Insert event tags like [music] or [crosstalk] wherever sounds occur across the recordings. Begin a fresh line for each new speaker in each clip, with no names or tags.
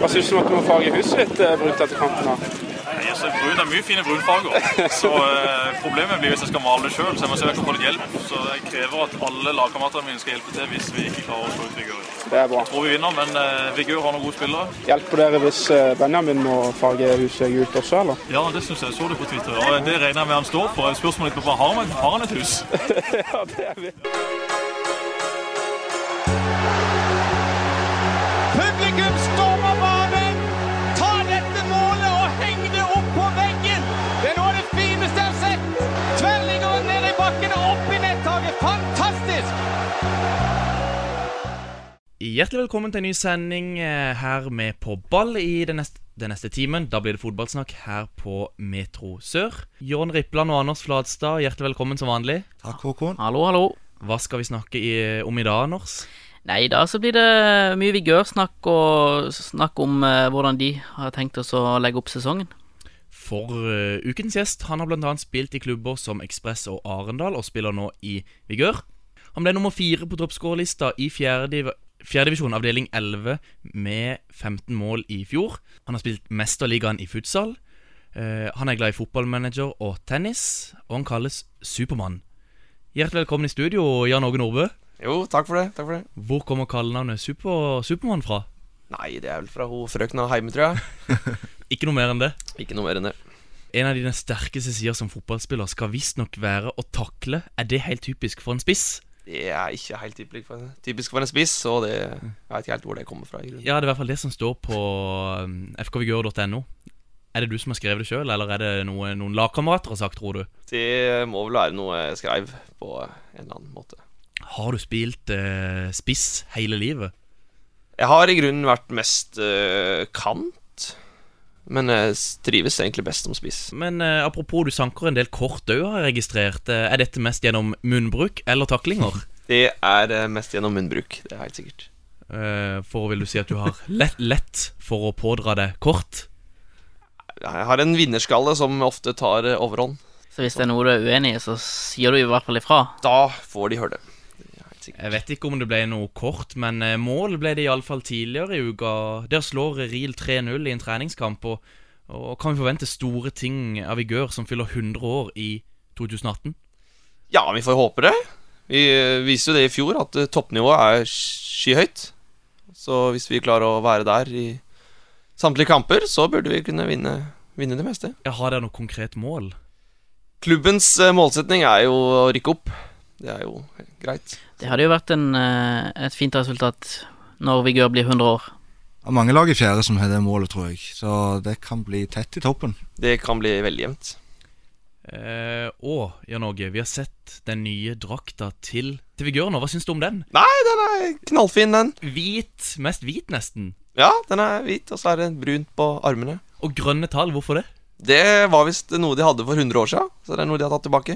Hva syns du om at du må farge huset ditt eh, brunt etter kanten? da?
Nei, altså, Brun er mye fine brunfarger. Så eh, problemet blir hvis jeg skal male det sjøl, så jeg må søke å få litt hjelp. Så jeg krever at alle lagkameratene mine skal hjelpe til hvis vi ikke klarer å slå ut Vigør.
Det er bra.
Tror vi vinner, men eh, Vigør har noen gode spillere.
Hjelper dere hvis eh, Benjamin må farge huset gult også, eller?
Ja, det syns jeg. Så det på Twitter. Og det regner jeg med han står på. Spørsmålet er bare har han, har han et hus?
[laughs] ja, det er vi.
Publikum stormer banen, tar dette målet og henger det opp på veggen. Det er noe av det fineste jeg har sett. Tverrliggeren ned i bakken og opp i nettaket. Fantastisk!
Hjertelig velkommen til en ny sending eh, her med På ball i den neste, den neste timen. Da blir det fotballsnakk her på Metro Sør. Jørn Rippland og Anders Flatstad, hjertelig velkommen som vanlig.
Takk, Håkon.
Hallo, hallo.
Hva skal vi snakke i, eh, om i dag, Anders?
Nei, da så blir det mye vigørsnakk og snakk om eh, hvordan de har tenkt oss å legge opp sesongen.
For eh, ukens gjest han har bl.a. spilt i klubber som Ekspress og Arendal, og spiller nå i Vigør. Han ble nummer fire på toppskårerlista i fjerde div- fjerde divisjon avdeling 11 med 15 mål i fjor. Han har spilt Mesterligaen i futsal. Eh, han er glad i fotballmanager og tennis, og han kalles Supermann. Hjertelig velkommen i studio, Jan Åge Nordbø.
Jo, takk for det. takk for det
Hvor kommer kallenavnet Super Supermann fra?
Nei, det er vel fra ho frøkna hjemme, tror jeg.
Ikke noe mer enn det.
Ikke noe mer enn det.
En av dine sterkeste sider som fotballspiller skal visstnok være å takle. Er det helt typisk for en spiss?
Det er ikke helt typisk for, typisk for en spiss, så det, jeg vet ikke helt hvor det kommer fra. i grunnen
Ja, det er i hvert fall det som står på um, fkvgør.no. Er det du som har skrevet det sjøl, eller er det noe, noen lagkamerater har sagt, tror du?
Det må vel være noe jeg skrev på en eller annen måte.
Har du spilt eh, spiss hele livet?
Jeg har i grunnen vært mest øh, kant, men jeg s- trives egentlig best som spiss.
Men eh, apropos, du sanker en del kort òg, har jeg registrert. Eh, er dette mest gjennom munnbruk eller taklinger?
Det er øh, mest gjennom munnbruk, det er helt sikkert.
Eh, for vil du si at du har lett, lett for å pådra deg kort?
Jeg har en vinnerskalle som ofte tar øh, overhånd.
Så hvis det er noe du er uenig i, så sier du i hvert fall ifra.
Da får de høre det. Det er helt sikkert.
Jeg vet ikke om det ble noe kort, men eh, mål ble det iallfall tidligere i uka. Der slår Riel 3-0 i en treningskamp, og, og kan vi forvente store ting av Vigør som fyller 100 år i 2018?
Ja, vi får håpe det. Vi eh, viser jo det i fjor, at eh, toppnivået er skyhøyt. Så hvis vi klarer å være der i samtlige kamper, så burde vi kunne vinne, vinne det meste.
Ja, Har dere noe konkret mål?
Klubbens eh, målsetning er jo å rykke opp. Det er jo greit.
Det hadde jo vært en, eh, et fint resultat når Vigør blir 100 år.
Det er mange lag i fjerde som har det målet, tror jeg. Så det kan bli tett i toppen.
Det kan bli veldig jevnt.
Eh, og Jan Åge, vi har sett den nye drakta til, til Vigør nå. Hva syns du om den?
Nei, den er knallfin, den.
Hvit. Mest hvit, nesten.
Ja, den er hvit, og så er det brunt på armene.
Og grønne tall. Hvorfor det?
Det var visst noe de hadde for 100 år siden, så det er noe de har tatt tilbake.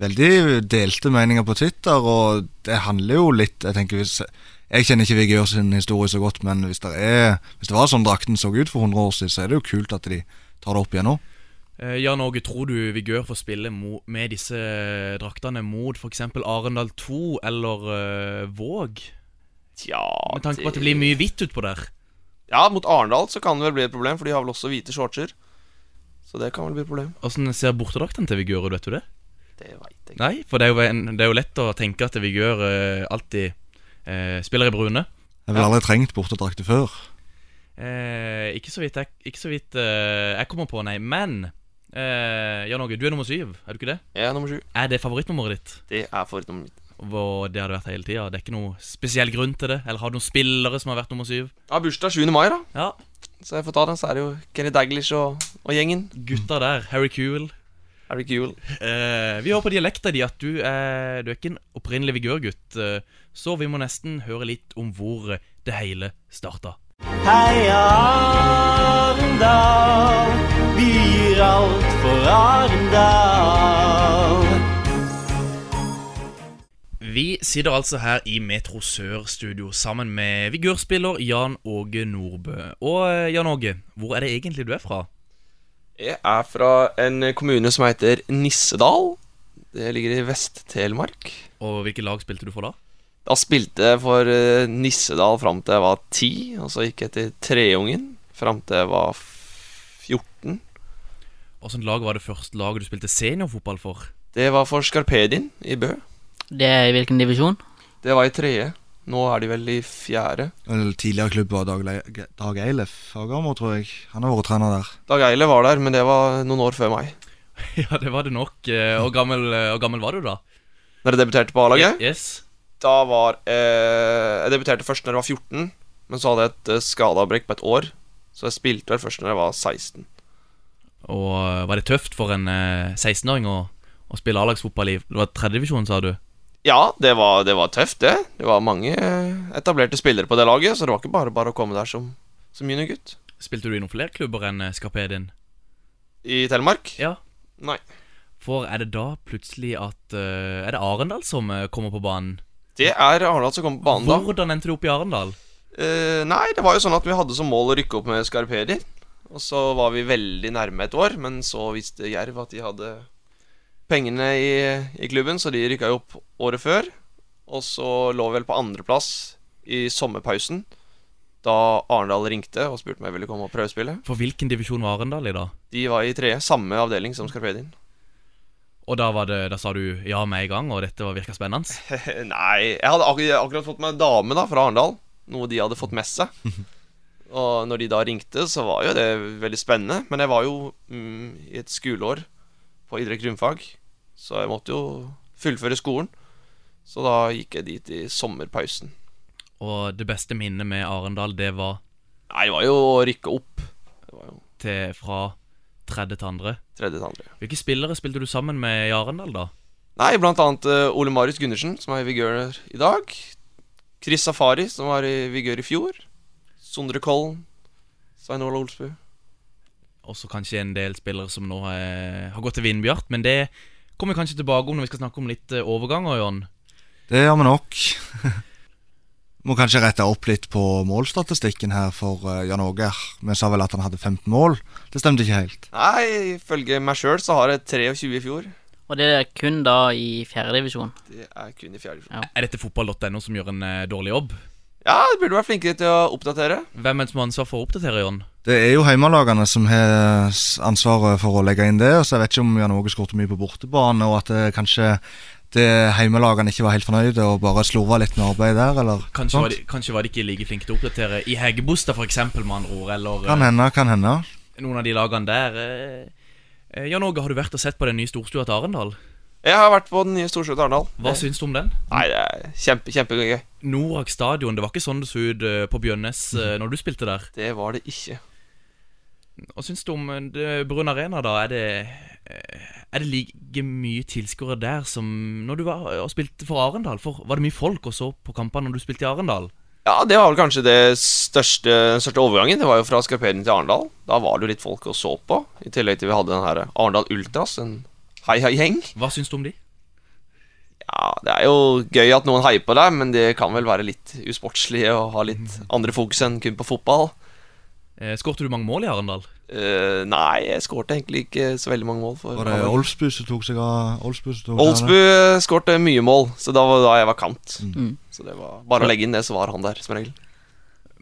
Veldig delte meninger på Twitter, og det handler jo litt Jeg tenker hvis Jeg kjenner ikke Vigør sin historie så godt, men hvis det, er, hvis det var sånn drakten så ut for 100 år siden, så er det jo kult at de tar det opp igjen nå.
Eh, Jan Åge, tror du Vigør får spille mo med disse draktene mot f.eks. Arendal 2 eller eh, Våg?
Tja
Med tanke på at det blir mye hvitt utpå der.
Ja, mot Arendal så kan det vel bli et problem, for de har vel også hvite shortser. Så det kan vel bli et problem.
Åssen ser bortedraktene til Vigør ut, vet du det?
Det veit jeg ikke.
Nei, for det er jo, en, det er jo lett å tenke at Vigør eh, alltid eh, spiller i brune.
Jeg har vel aldri trengt bortedrakter før.
Eh, ikke så vidt, jeg, ikke så vidt eh, jeg kommer på, nei. Men eh, Jan Åge, du er nummer syv, er du ikke det?
Jeg er nummer sju.
Er det favorittnummeret ditt?
Det er favorittnummeret mitt.
Hvor det har det vært hele tida? Det er ikke noe spesiell grunn til det? Eller har du noen spillere som har vært nummer syv?
Jeg har bursdag 7. mai, da,
Ja,
så jeg får ta den. Så er det jo Kenny Daglish og, og gjengen.
gutta der, Harry Cool.
Er det ikke jul?
Eh, vi har på dialekta di at du er, du er ikke en opprinnelig vigørgutt, eh, så vi må nesten høre litt om hvor det hele starta.
Heia Arendal, vi gir alt for Arendal.
Vi sitter altså her i Metro Sør studio sammen med vigørspiller Jan Åge Nordbø. Og eh, Jan Åge, hvor er det egentlig du er fra?
Jeg er fra en kommune som heter Nissedal. Det ligger i Vest-Telemark.
Og hvilket lag spilte du for da?
Da spilte jeg for eh, Nissedal fram til jeg var 10, og så gikk jeg til Treungen fram til jeg var 14.
Åssen lag var det første laget du spilte seniorfotball for?
Det var for Skarpedin i Bø.
Det er i hvilken divisjon?
Det var i tredje. Nå er de vel i fjerde.
Eller tidligere klubb var Dag, Le- Dag Eilef Fagermo, tror jeg. Han har vært trener der.
Dag Eile var der, men det var noen år før meg.
[laughs] ja, det var det nok. Eh, Og gammel, eh, og gammel var du da?
Når jeg debuterte på A-laget
Yes.
Da var eh, Jeg debuterte først når jeg var 14, men så hadde jeg et eh, skadeavbrekk på et år. Så jeg spilte vel først når jeg var 16.
Og eh, var det tøft for en eh, 16-åring å, å spille A-lagsfotball i Det var tredjedivisjon, sa du?
Ja, det var, det var tøft, det. Det var mange eh, etablerte spillere på det laget, så det var ikke bare bare å komme der som, som juniorgutt.
Spilte du i noen flere klubber enn eh, Skarpedin?
I Telemark?
Ja.
Nei.
For er det da plutselig at eh, Er det Arendal som eh, kommer på banen?
Det er Arendal som kommer på banen da.
Hvordan endte du opp i Arendal?
Eh, nei, det var jo sånn at vi hadde som mål å rykke opp med Skarperi. Og så var vi veldig nærme et år, men så visste Jerv at de hadde pengene i, i klubben, så de rykka jo opp året før. Og så lå vi vel på andreplass i sommerpausen da Arendal ringte og spurte om jeg ville komme og prøvespille.
For hvilken divisjon var Arendal i da?
De var i tredje, samme avdeling som Skarpedin.
Og da, var det, da sa du ja med en gang, og dette var- virka spennende?
[laughs] Nei, jeg hadde ak akkurat fått meg en dame da fra Arendal. Noe de hadde fått med seg. Og når de da ringte, så var jo det veldig spennende. Men jeg var jo mm, i et skoleår på idrett grunnfag, så jeg måtte jo fullføre skolen. Så da gikk jeg dit i sommerpausen.
Og det beste minnet med Arendal, det var
Nei, det var jo å rykke opp. Det var jo
til fra tredje til andre.
tredje til andre.
Hvilke spillere spilte du sammen med i Arendal, da?
Nei, blant annet eh, Ole Marius Gundersen, som er i Vigør i dag. Chris Safari, som var i Vigør i fjor. Sondre Kollen. Svein Ola Olsbu.
Også kanskje en del spillere som nå eh, har gått til Vindbjart, men det kommer vi kanskje tilbake om når vi skal snakke om litt eh, overganger, Jon.
Det gjør vi nok. [laughs] Må kanskje rette opp litt på målstatistikken her for eh, Jan Åger. Vi sa vel at han hadde 15 mål. Det stemte ikke helt.
Nei, ifølge meg sjøl så har jeg 23 i fjor.
Og det er kun da i fjerdedivisjon.
Det er kun i fjerde divisjon.
Ja.
Er dette fotball.no som gjør en eh, dårlig jobb?
Ja, du burde vært flinkere til å oppdatere.
Hvem er det som har ansvar for å oppdatere, Jon?
Det er jo heimelagene som har s- ansvaret for å legge inn det. Så jeg vet ikke om Jan Åge skåret mye på bortebane, og at eh, kanskje det heimelagene ikke var helt fornøyde og bare slurva litt med arbeidet der, eller
Kanskje var, de, kanskje var de ikke like flinke til å oppdatere i Heggebostad, for eksempel, med andre ord, eller
Kan
eh,
hende, kan hende.
noen av de lagene der. eh. Eh, Jan Åge, har du vært og sett på den nye storstua til Arendal?
Jeg har vært på den nye Storsjøen til Arendal.
Hva syns du om den?
Nei, det er kjempe, kjempegøy.
Norak stadion, det var ikke sånn det så ut eh, på Bjønnes eh, når du spilte der.
Det var det ikke.
Hva syns du om eh, det- Brun Arena, da? Er det, eh, er det like mye tilskuere der som når du var og spilte for Arendal? For Var det mye folk og så på kampene når du spilte i Arendal?
Ja, det var vel kanskje det største, den største overgangen. Det var jo fra Skarpering til Arendal. Da var det jo litt folk å så på. I tillegg til vi hadde den her Arendal Ultras, en hei-hei-gjeng.
Hva syns du om de?
Ja, det er jo gøy at noen heier på deg, men det kan vel være litt usportslig å ha litt
Mm.
andre fokus enn kun på fotball.
Eh, Skårte du mange mål i Arendal?
Eh, nei, jeg skårte egentlig ikke så veldig mange mål. For
Var det Olsbu som tok seg av Olsbu? som tok seg av det?
Oldsbu eh, skårte mye mål, så da, var- da jeg var kant.
Mm.
Så det var bare å legge inn det, så var han der, som regel.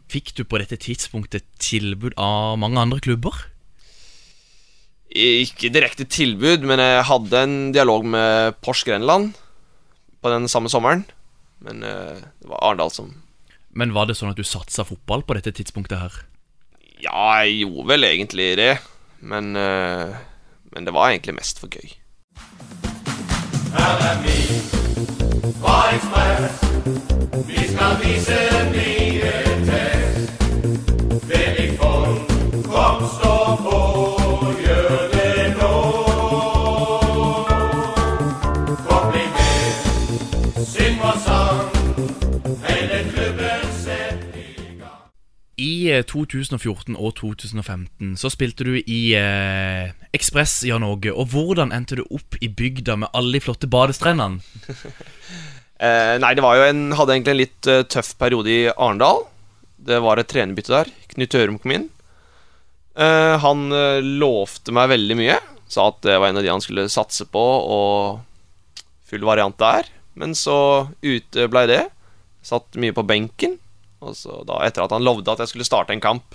Fikk du på dette tidspunktet tilbud av mange andre klubber?
Ikke direkte tilbud, men jeg hadde en dialog med Porsch Grenland på den samme sommeren. Men eh, det var Arendal som
Men var det sånn at du satsa fotball på dette tidspunktet her?
Ja, jeg gjorde vel egentlig det, men, eh, men det var egentlig mest for gøy.
I eh, 2014 og 2015 så spilte du i eh, Ekspress Jan Åge, og hvordan endte du opp i bygda med alle de flotte badestrendene?
Eh, nei, det var jo en, hadde egentlig en litt eh, tøff periode i Arendal. Det var et trenerbytte der. Knut Hørum kom inn. Eh, han eh, lovte meg veldig mye. Sa at det var en av de han skulle satse på, og full variant der. Men så uteblei det. Satt mye på benken. Og så da, etter at han lovde at jeg skulle starte en kamp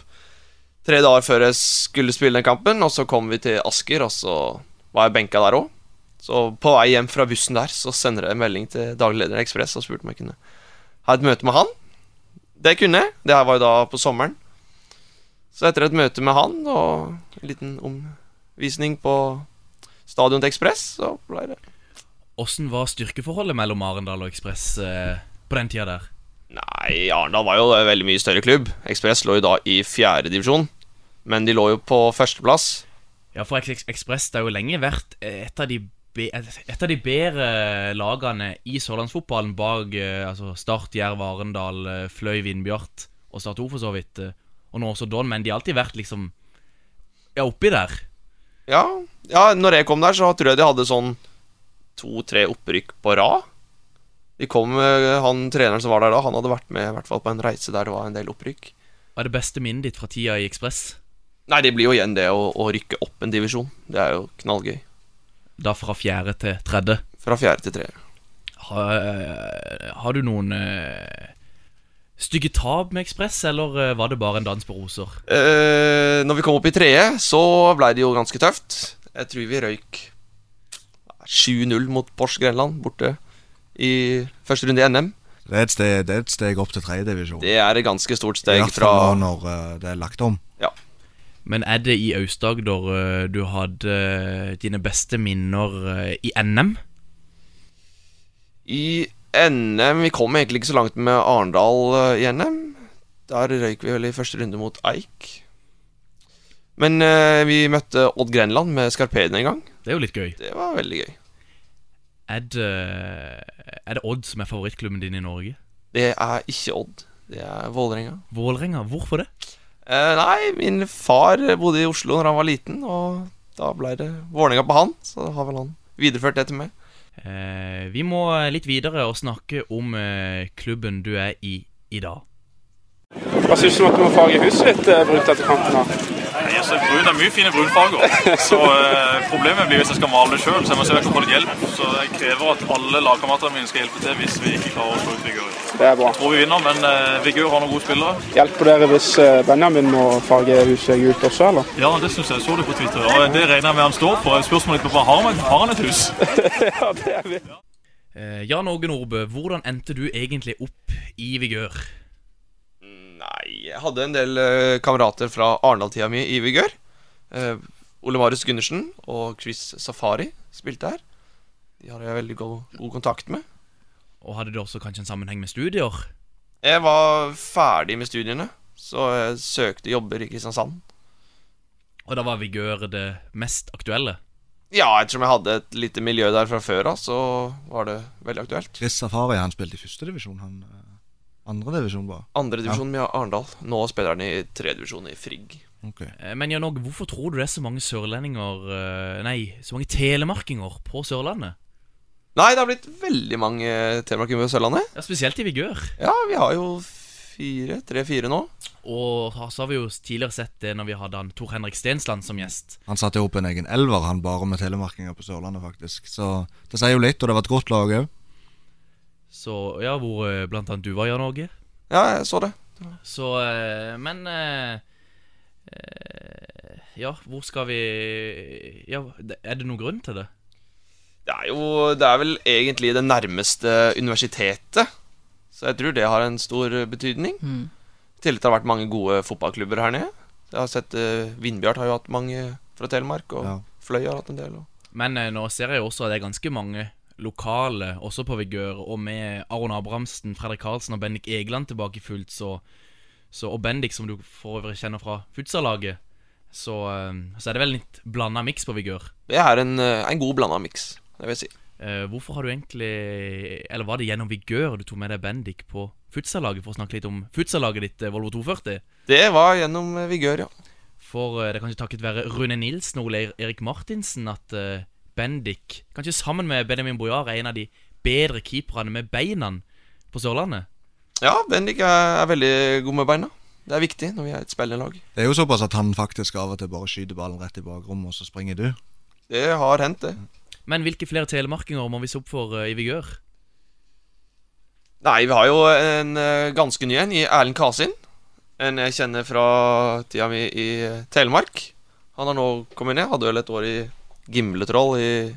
tre dager før jeg skulle spille den kampen, og så kom vi til Asker, og så var jeg benka der òg. Så på vei hjem fra bussen der så sender jeg en melding til daglig leder i Ekspress og spurte om jeg kunne ha et møte med han. Det kunne jeg. Det her var jo da på sommeren. Så etter et møte med han og en liten omvisning på stadion til Ekspress, så ble det
Åssen var styrkeforholdet mellom Arendal og Ekspress eh, på den tida der?
Nei, Arendal var jo en veldig mye større klubb. Ekspress lå jo da i fjerde divisjon, men de lå jo på førsteplass.
Ja, for Eks- Ekspress det har jo lenge vært eh, et av de, be et av de bedre eh, lagene i sørlandsfotballen bak eh, altså Start, Jerv, Arendal, eh, Fløy, Vindbjart og Start 2 for så vidt. eh, Og nå også Don, men de har alltid vært liksom Ja, oppi der.
Ja, ja, når jeg kom der, så tror jeg de hadde sånn to-tre opprykk på rad. De kom, eh, han Treneren som var der da, han hadde vært med i hvert fall på en reise der det var en del opprykk.
Hva er det beste minnet ditt fra tida i Ekspress?
Nei, det blir jo igjen det å, å rykke opp en divisjon. Det er jo knallgøy.
Da fra fjerde til tredje.
Fra fjerde til tredje.
Har, eh, har du noen eh, stygge tap med Ekspress, eller eh, var det bare en dans på roser?
Eh, når vi kom opp i tredje, så ble det jo ganske tøft. Jeg tror vi røyk 7-0 mot Porsch Grenland borte i første runde i NM.
Det er et steg, det er et steg opp til tredjedivisjon.
Det er et ganske stort
I
steg
hvert
fra
fall nå når eh, det er lagt om.
Men er det i Aust-Agder eh, du hadde eh, dine beste minner eh, i NM?
I NM Vi kom egentlig ikke så langt med Arendal eh, i NM. Der røyk vi vel i første runde mot Eik. Men eh, vi møtte Odd Grenland med Skarpeden en gang.
Det er jo litt gøy.
Det var veldig gøy.
Er det, eh, er det Odd som er favorittklubben din i Norge?
Det er ikke Odd, det er Vålerenga.
Vålerenga, hvorfor det?
Eh, nei, min far bodde i Oslo når han var liten, og da ble det Vålerenga på han. Så har vel han videreført det til meg.
Eh, vi må litt videre og snakke om eh, klubben du er i i dag.
Hva syns du om at du må farge huset ditt eh, brunt etter kanten? her?
Nei, altså, brun, det er mye fine brunfarger. Så eh, problemet blir hvis jeg skal male det sjøl, så jeg må se om jeg kan få litt hjelp. Så jeg krever at alle lagkameratene mine skal hjelpe til hvis vi ikke klarer å slå ut Vigør.
Det er bra.
Tror vi vinner, men eh, Vigør har noen gode spillere.
Hjelper dere hvis eh, Benjamin må farge huset gult også, eller?
Ja, det syns jeg. Så det på Twitter. Og det regner jeg med han står for. Spørsmålet mitt er bare har han, har han et hus?
Ja, det er vi.
Eh, Jan Åge Nordbø, hvordan endte du egentlig opp i Vigør?
Nei, jeg hadde en del eh, kamerater fra Arendal-tida mi i vigør. Eh, Ole Marius Gundersen og Chris Safari spilte her. De har jeg veldig god, god kontakt med.
Og hadde det også kanskje en sammenheng med studier?
Jeg var ferdig med studiene, så jeg søkte jobber i Kristiansand.
Og da var Vigør det mest aktuelle?
Ja, ettersom jeg hadde et lite miljø der fra før av, så var det veldig aktuelt.
Chris Safari han spilte i førstedivisjon. Han eh, andredivisjon bare.
Andredivisjon med Arendal. Nå spiller han i tredjedivisjon i Frigg.
Ok.
Eh, Men Jan Åge, hvorfor tror du det er så mange sørlendinger eh, Nei, så mange telemarkinger på Sørlandet?
Nei, det har blitt veldig mange telemarkinger på Sørlandet.
Ja, Spesielt i Vigør.
Ja, vi har jo fire, tre-fire nå.
Og så har vi jo tidligere sett det når vi hadde han Tor Henrik Stensland som gjest.
Han satte opp en egen elver, han bare med telemarkinger på Sørlandet, faktisk. Så det sier jo litt, og det var et godt lag òg.
Så ja, hvor eh, blant annet du var, Jan Åge.
Ja, jeg så det.
Så eh, Men eh, eh, Ja, hvor skal vi Ja, det- er det noen grunn til det?
Det er jo Det er vel egentlig det nærmeste universitetet. Så jeg tror det har en stor betydning. I tillegg til at det har vært mange gode fotballklubber her nede. Jeg har sett eh, Vindbjart har jo hatt mange fra Telemark, og
Ja.
Fløy har hatt en del. Og.
Men eh, nå ser jeg jo også at det er ganske mange lokale også på Vigør, og med Aron Abrahamsen, Fredrik Karlsen og Bendik Egeland tilbake fullt, så, så Og Bendik, som du for øvrig kjenner fra futsal-laget, så, eh, så er det vel en litt blanda miks på Vigør.
Det er en, eh, en god blanda miks, det vil jeg si.
Eh, hvorfor har du egentlig Eller var det gjennom Vigør du tok med deg Bendik på futsal-laget, for å snakke litt om futsal-laget ditt, eh, Volvo 240?
Det var gjennom eh, Vigør, ja.
For eh, det er kanskje takket være Rune Nilsen og Ole Erik Martinsen at eh, Bendik, kanskje sammen med Benjamin Bojar, er en av de bedre keeperne med beina på Sørlandet.
Ja, Bendik er, er veldig god med beina. Det er viktig når vi er et spillende lag.
Det er jo såpass at han faktisk av og til bare skyter ballen rett i bakrommet, og så springer du.
Det har hendt, det.
Men hvilke flere telemarkinger må vi se opp for eh, i Vigør?
Nei, vi har jo en eh, ganske ny en i Erlend Kasin. En jeg kjenner fra tida mi i Telemark. Han har nå kommet ned. Hadde vel et år i Gimletroll i,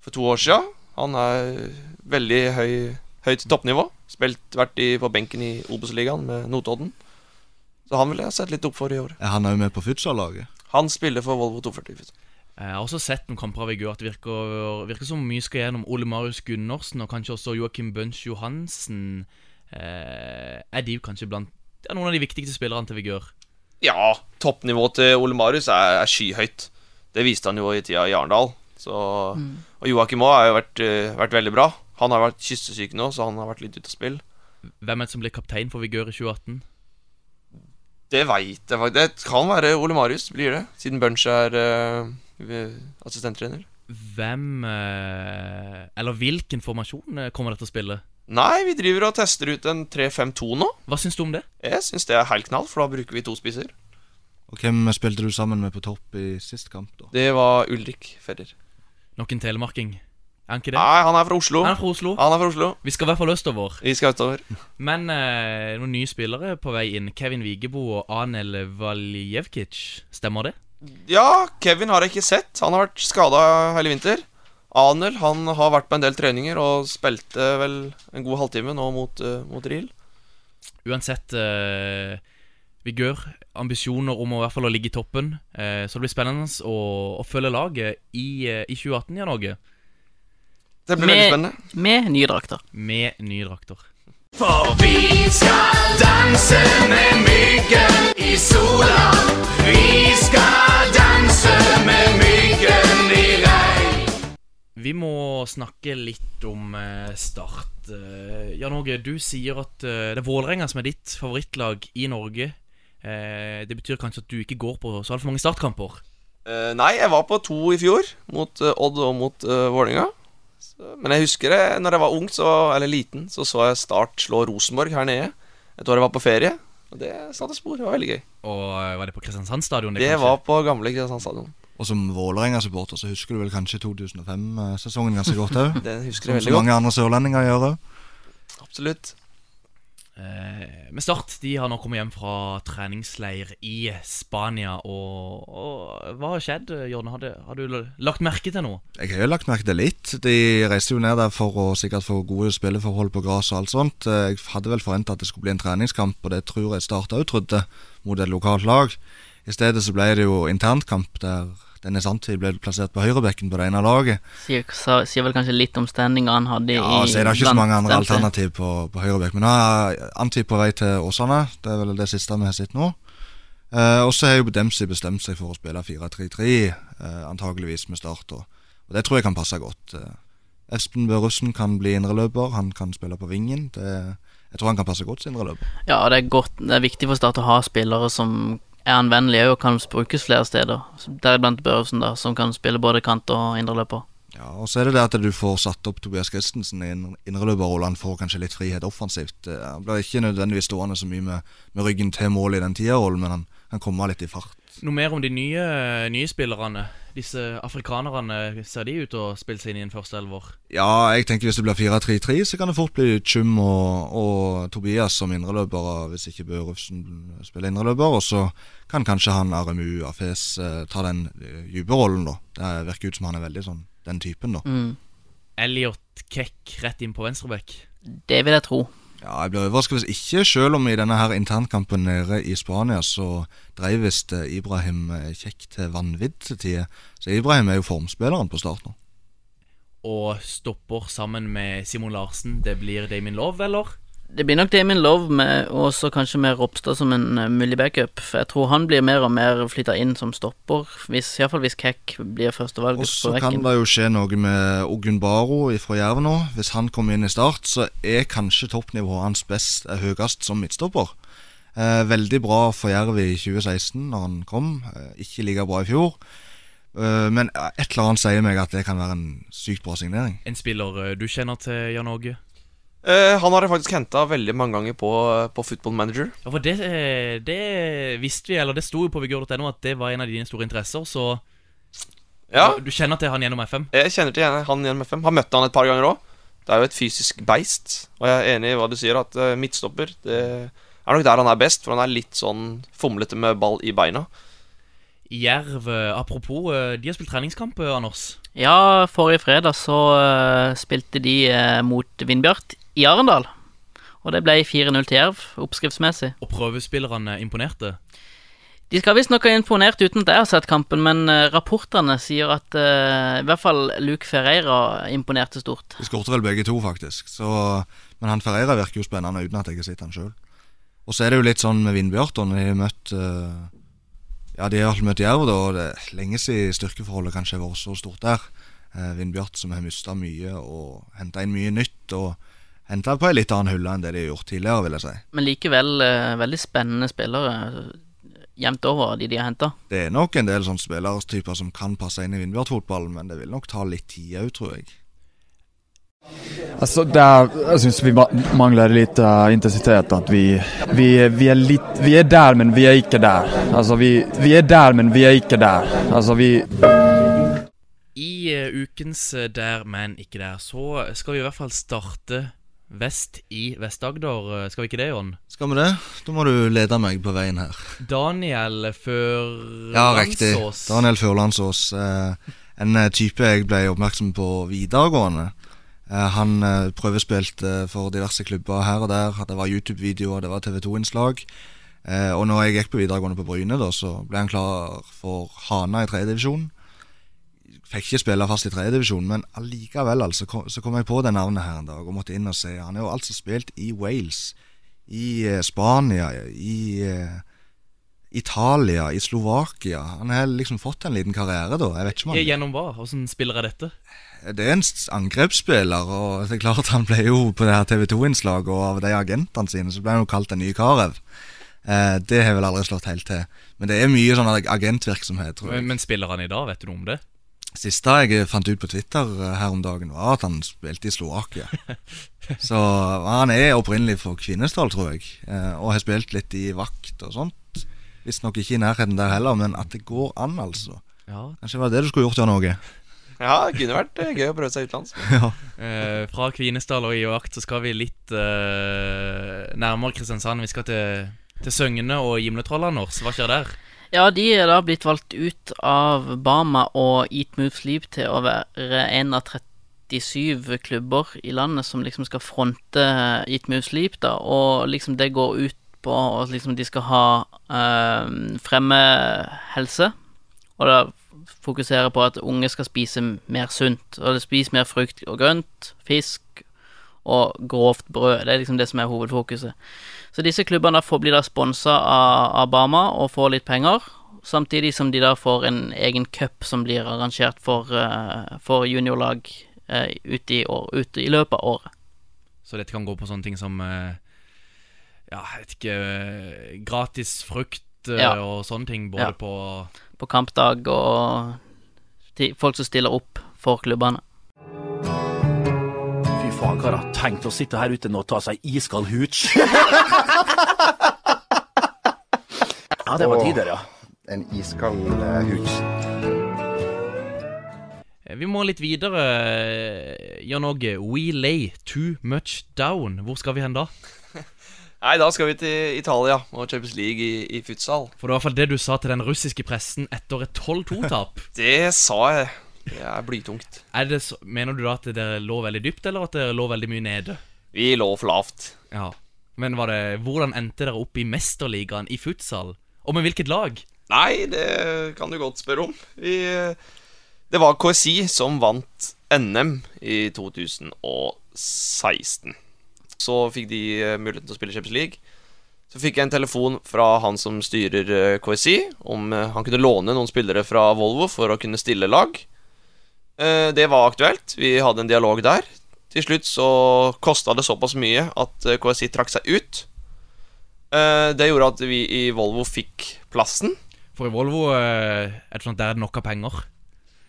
for to år sia. Han er veldig høy, høyt toppnivå. Spilt vært i, på benken i Obos-ligaen med Notodden. Så han ville jeg sett litt opp for i år.
Er han òg med på futsal-laget?
Han spiller for Volvo 240.
Jeg har også sett noen kamper av Vigør at det virker, virker som mye skal gjennom Ole Marius Gundersen og kanskje også Joakim Bønch Johansen. Eh, er de jo kanskje blant ja, noen av de viktigste spillerne til Vigør?
Ja, toppnivået til Ole Marius er, er skyhøyt. Det viste han jo i tida i Arendal. Så, Og Joakim òg har jo vært, eh, vært veldig bra. Han har vært kyssesyk nå, så han har vært litt ute av spill.
Hvem er det som blir kaptein for Vigør i 2018?
Det veit jeg faktisk. Det kan være Ole Marius blir det, siden Bunch er eh, assistenttrener.
Hvem eh, Eller hvilken formasjon eh, kommer dette å spille?
Nei, vi driver og tester ut en 3-5-2 nå.
Hva syns du om det?
Jeg syns det er helt knall, for da bruker vi to spisser.
Og hvem spilte du sammen med på topp i sist kamp, da?
Det var Ulrik Fedder.
Nok en telemarking. Er han ikke det?
Nei, han er fra Oslo.
Han er fra Oslo.
Han er fra Oslo.
Vi skal i hvert fall østover.
Vi skal utover.
Men eh, noen nye spillere på vei inn. Kevin Vigebo og Anel Valjevkic. Stemmer det?
Ja, Kevin har jeg ikke sett. Han har vært skada hele vinter. Anel han har vært på en del treninger og spilte vel en god halvtime nå mot, eh, mot Ril.
Uansett eh, vigør, ambisjoner om å, i hvert fall å ligge i toppen. Eh, så det blir spennende å, å følge laget i, eh, i 2018 i Norge
Det blir veldig
Med,
spennende.
med nye drakter.
med nye drakter.
For vi skal danse med myggen i sola. Vi skal danse med myggen i regn.
Vi må snakke litt om eh, Start. Eh, Jan Åge, du sier at eh, det er Vålerenga som er ditt favorittlag i Norge. Eh, Det betyr kanskje at du ikke går på så altfor mange startkamper.
Eh, nei, jeg var på to i fjor, mot eh, Odd og mot uh, Vålerenga. Så- Men jeg husker det, når jeg var ung, så, eller liten, så så jeg Start slå Rosenborg her nede. Et år jeg var på ferie. Og det satte spor. Det var veldig gøy.
Og eh, var det på Kristiansand stadion?
Det
kanskje?
var på gamle Kristiansand stadion.
Og som Vålerenga-supporter så husker du vel kanskje 2005-sesongen ganske godt òg?
Den husker
Som
jeg
så
veldig godt.
mange andre sørlendinger gjør òg.
Absolutt.
Eh, Men Start de har nå kommet hjem fra treningsleir i Spania. Og, og hva har skjedd, Jørn? Har, det- har du l- lagt merke til noe?
Jeg har jo lagt merke til litt. De reiste jo ned der for å sikkert få gode spilleforhold på gress og alt sånt. Eh, Jeg hadde vel forventa at det skulle bli en treningskamp, og det tror jeg Start òg trodde, mot et lokalt lag. I stedet så ble det jo internkamp der denne samtidig ble plassert på høyrebekken på det ene laget.
Sier, sa- sier vel kanskje litt om standinga han hadde i
Ja, så er det ikke så
blant
mange andre
dem som-
alternativ på, på høyrebekk. Men nå er Anti på vei til Åsane. Det er vel det siste vi har sett nå. Eh, og så har jo Dempsey bestemt seg for å spille 4-3-3, eh, antageligvis med Start. Og, og det tror jeg kan passe godt. Eh, Espen Bø Russen kan bli indreløper, han kan spille på vingen. Det, jeg tror han kan passe godt som indreløper.
Ja, det er, godt, det er viktig for Start å ha spillere som er anvendelige og kan brukes flere steder. Deriblant Børresen, da, som kan spille både kant og indreløper.
Ja, og så er det det at du får satt opp Tobias Christensen i en indreløperrolle. Han får kanskje litt frihet offensivt. Eh, Han blir ikke nødvendigvis stående så mye med, med ryggen til målet i den tierrollen, men han, han kommer litt i fart.
Noe mer om de nye, nye spillerne? Disse afrikanerne, ser de ut til å spille seg inn i en førsteelver?
Ja, jeg tenker hvis det blir 4-3-3, så kan det fort bli Tjum og, og Tobias som indreløpere, hvis ikke Børufsen spiller indreløper. Og så kan kanskje han RMU Afes eh, ta den eh, dype rollen, da. Det virker ut som han er veldig sånn den typen, da.
Elliot Kekk rett inn på venstreback.
Det vil jeg tro.
Ja, jeg blir overrasket hvis ikke, selv om i denne her internkampen nede i Spania, så dreiv visst eh, Ibrahim eh, Kjekk til vanvidd til tider. Så Ibrahim er jo formspilleren på start nå.
Og stopper sammen med Simon Larsen. Det blir Damien Love, eller?
Det blir nok Damien Love med, og så kanskje med Ropstad som en eh, mulig backup. For jeg tror han blir mer og mer flytta inn som stopper, hvis, iallfall hvis Kekk blir
Og
førstevalget på
så kan
bekken.
det jo skje noe med Ogun Baro fra Jerv nå. Hvis han kommer inn i start, så er kanskje toppnivået hans best er høyest som midtstopper. Eh, veldig bra for Jerv i 2016 når han kom. Eh, ikke like bra i fjor. Eh, men eh, et eller annet sier meg at det kan være en sykt bra signering.
En spiller eh, du kjenner til, Jan Åge?
Eh, han har jeg faktisk henta veldig mange ganger på, eh, på Football Manager.
Ja, for det, eh, det visste vi, eller det sto jo på vigør.no at det var en av dine store interesser, så
Ja,
du kjenner til han gjennom FM?
Jeg kjenner til han gjennom FM. Har møtt han et par ganger òg. Det er jo et fysisk beist, og jeg er enig i hva du sier, at eh, midtstopper det er nok der han er best, for han er litt sånn fomlete med ball i beina.
Jerv, eh, apropos, eh, de har spilt treningskamp, eh, Anders.
Ja, forrige fredag så eh, spilte de eh, mot Vindbjart i Arendal. Og det ble 4-0 til Jerv, oppskriftsmessig.
Og prøvespillerne imponerte.
De skal visstnok ha imponert uten at jeg har sett kampen, men eh, rapportene sier at eh, i hvert fall Luke Ferreira imponerte stort.
De skårte vel begge to, faktisk. Så, men han Ferreira virker jo spennende uten at jeg har sett han sjøl. Og så er det jo litt sånn med Vindbjart. da, Når de har møtt eh, Ja, de har iallfall møtt Jerv, da. Og det er lenge siden styrkeforholdet kanskje har vært så stort der. Eh, Vindbjart som har mista mye og henta inn mye nytt. Og henta på ei litt annen hylle enn det de har gjort tidligere, vil jeg si.
Men likevel eh, veldig spennende spillere eh, jevnt over, de de har henta.
Det er nok en del sånne spillertyper som kan passe inn i Vindbjart-fotballen, men det vil nok ta litt tid òg, tror jeg.
Altså, det er, jeg syns vi ma- mangler litt eh, intensitet. At vi, vi, vi, er litt, vi er der, men vi er ikke der. Altså, vi, vi er der, men vi er ikke der. Altså, vi,
I eh, ukens eh, Der, men ikke der, så skal vi i hvert fall starte vest i Vest-Agder. Eh, Skal vi ikke det, Jon?
Skal vi det? Da må du lede meg på veien her.
Daniel før
Ja, riktig.
Landsås.
Daniel Førlandsås. Eh, en eh, type jeg ble oppmerksom på videregående. Eh, han eh, prøvespilte for diverse klubber her og der. Det var YouTube-videoer, det var TV2-innslag. Eh, og når jeg gikk på videregående på Bryne, da, så ble han klar for Hana i tredjedivisjon. Fikk ikke spille fast i tredjedivisjon, men allikevel altså, kom, så kom jeg på det navnet her en dag og måtte inn og se. Han har jo altså spilt i Wales, i eh, Spania, i eh, Italia, i Slovakia Han har liksom fått en liten karriere, da. Jeg vet ikke om
Ja,
han
Gjennom hva? Åssen spiller jeg dette?
Det er en s- angrepsspiller, og det er klart han ble jo på det her TV 2-innslaget, og av de agentene sine så ble han jo kalt en ny Karev. Eh, det har vel aldri slått helt til. Men det er mye sånn ag- agentvirksomhet, tror jeg.
Men, men spiller han i dag? Vet du noe om det?
Siste jeg fant ut på Twitter eh, her om dagen, var at han spilte i
[laughs]
Slovakia. Så han er opprinnelig fra Kvinesdal, tror jeg, eh, og har spilt litt i vakt og sånt. Visstnok ikke i nærheten der heller, men at det går an, altså.
Ja.
Kanskje det var det du skulle gjort, Jan Åge?
Ja, det kunne vært eh, gøy å prøve seg utenlands.
Eh, fra Kvinesdal og i Jakt så skal vi litt eh, nærmere Kristiansand. Vi skal til, til Søgne og Gimletrollene våre. Hva skjer der?
Ja, de er da blitt valgt ut av Bama og Eat Move Sleep til å være en av 37 klubber i landet som liksom skal fronte eh, Eat Move Sleep, da, og liksom det går ut på at liksom de skal ha eh, fremme helse, og da fokusere på at unge skal spise mer sunt, og spise mer frukt og grønt, fisk og grovt brød. Det er liksom det som er hovedfokuset. Så disse klubbene får bli da sponsa av, av Bama og får litt penger, samtidig som de da får en egen cup som blir arrangert for, eh, for juniorlag eh, ute i, år, ute i løpet av året.
Så dette kan gå på sånne ting som eh, Ja, jeg vet ikke eh, Gratis frukt eh,
Ja.
og sånne ting.
Ja.
Både på
På kampdag og ti- folk som stiller opp for klubbene.
Fy faen, hva har jeg tenkt å sitte her ute nå og ta seg iskald hooch? ja, det var tider, ja.
En iskald eh, hus.
Eh, Vi må litt videre. eh, Jan Åge, we lay too much down. Hvor skal vi hen da?
Nei, da skal vi til Italia og Champions League i, i futsal.
For det var i hvert fall det du sa til den russiske pressen etter et [laughs] 12-2-tap.
Det sa jeg. Det er blytungt.
Er det så- Mener du da at dere lå veldig dypt, eller at dere lå veldig mye nede?
Vi lå for lavt.
Ja. Men var det, hvordan endte dere opp i Mesterligaen i futsal? Og med hvilket lag?
Nei, det kan du godt spørre om. Vi, eh, det var KSI som vant NM i 2016. Så fikk de eh, muligheten til å spille Champions League. Så fikk jeg en telefon fra han som styrer eh, KSI, om eh, han kunne låne noen spillere fra Volvo for å kunne stille lag. Eh, Det var aktuelt. Vi hadde en dialog der. Til slutt så kosta det såpass mye at eh, KSI trakk seg ut. Eh, Det gjorde at vi i Volvo fikk plassen.
For i Volvo eh, er det sånn at der er det nok av penger.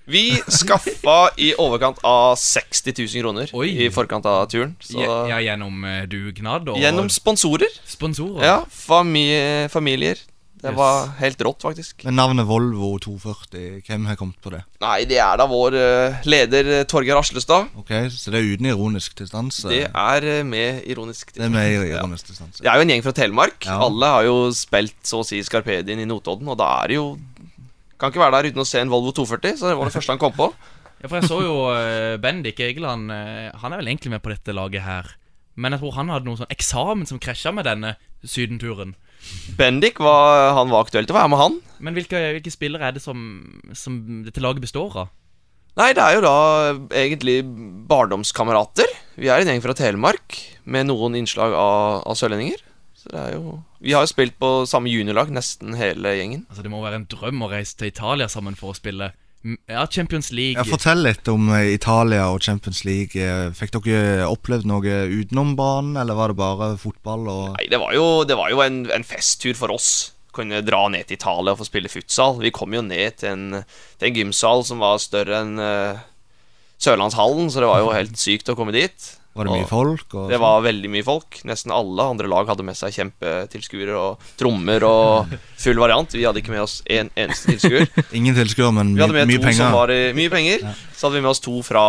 Vi skaffa i overkant av 60 000 kroner
Oi.
i forkant av turen. Så
Ja, ja, gjennom eh, dugnad og
gjennom sponsorer.
sponsorer.
Ja, fami familier. Det var helt rått, faktisk.
Men navnet Volvo 240, hvem har kommet på det?
Nei, det er da vår eh, leder eh, Torgeir Aslestad.
Ok, Så det er uten ironisk distanse?
Det er eh, med ironisk
Det er med ironisk distanse.
Det er jo en gjeng fra Telemark.
Ja.
Alle har jo spilt så å si Skarpedien i Notodden, og da er det jo Kan ikke være der uten å se en Volvo 240, så det var det første han kom på.
Ja, for jeg så jo eh, Bendik Egeland eh, Han er vel egentlig med på dette laget her. Men jeg tror han hadde noe sånn eksamen som krasja med denne sydenturen.
Bendik var, han var aktuell til å være med, han.
Men hvilke, hvilke spillere er det som, som dette laget består av?
Nei, det er jo da egentlig barndomskamerater. Vi er en gjeng fra Telemark med noen innslag av, av sørlendinger. Så det er jo Vi har jo spilt på samme juniorlag, nesten hele gjengen.
Altså Det må være en drøm å reise til Italia sammen for å spille mm, Ja, Champions League.
Ja, fortell litt om eh, Italia og Champions League. Eh, Fikk dere opplevd noe utenom banen, eller var det bare fotball? og...
Nei, det var jo, det var jo en, en festtur for oss. Kunne dra ned til Italia og få spille futsal. Vi kom jo ned til en, til en gymsal som var større enn eh, Sørlandshallen, så det var jo helt sykt å komme dit.
Var det mye
Og-
folk? Og
Det var veldig mye folk. Nesten alle andre lag hadde med seg kjempetilskuere og trommer og full variant. Vi hadde ikke med oss en eneste tilskuer.
sånn? Ingen tilskuere, men
Vi
mye,
hadde med
mye
to som
penger.
var i mye penger. Så hadde vi med oss to fra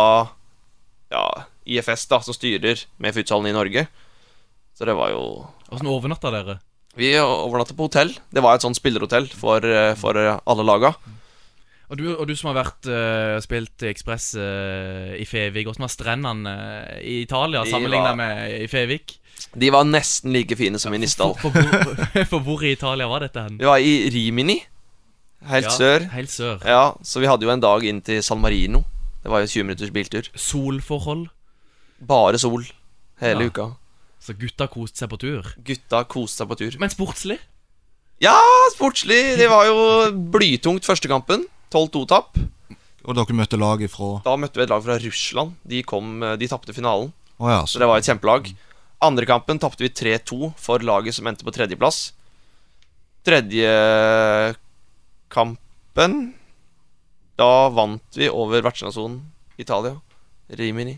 ja, IFS, da, som styrer med futsalen i Norge. Så det var jo
Åssen overnatta dere?
Vi overnatta på hotell. Det var et sånt spillerhotell for, eh, for alle laga.
Og du, og du som har vært eh, spilt i Ekspress eh, i Fevik, åssen var strendene eh, i Italia
De
sammenligna
var-
med i Fevik?
De var nesten like fine som i Nisdal.
For hvor, [laughs] for hvor i Italia var dette hen?
Vi var i Rimini, helt
Ja,
sør.
Helt sør.
Ja, Så vi hadde jo en dag inn til San Marino. Det var jo 20 minutters biltur.
Solforhold.
Bare sol hele
Ja.
uka.
Så gutta koste seg på tur.
Gutta koste seg på tur.
Men sportslig?
Ja, sportslig! Det var jo blytungt første kampen. 12-2-tap.
Og dere møtte lag ifra
Da møtte vi et lag fra Russland. De, kom, eh, de tapte finalen,
Å ja,
så
så
det var et kjempelag. Andre kampen tapte vi 3-2 for laget som endte på tredjeplass. Tredje kampen Da vant vi over vertsnasjonen Italia. Rimini.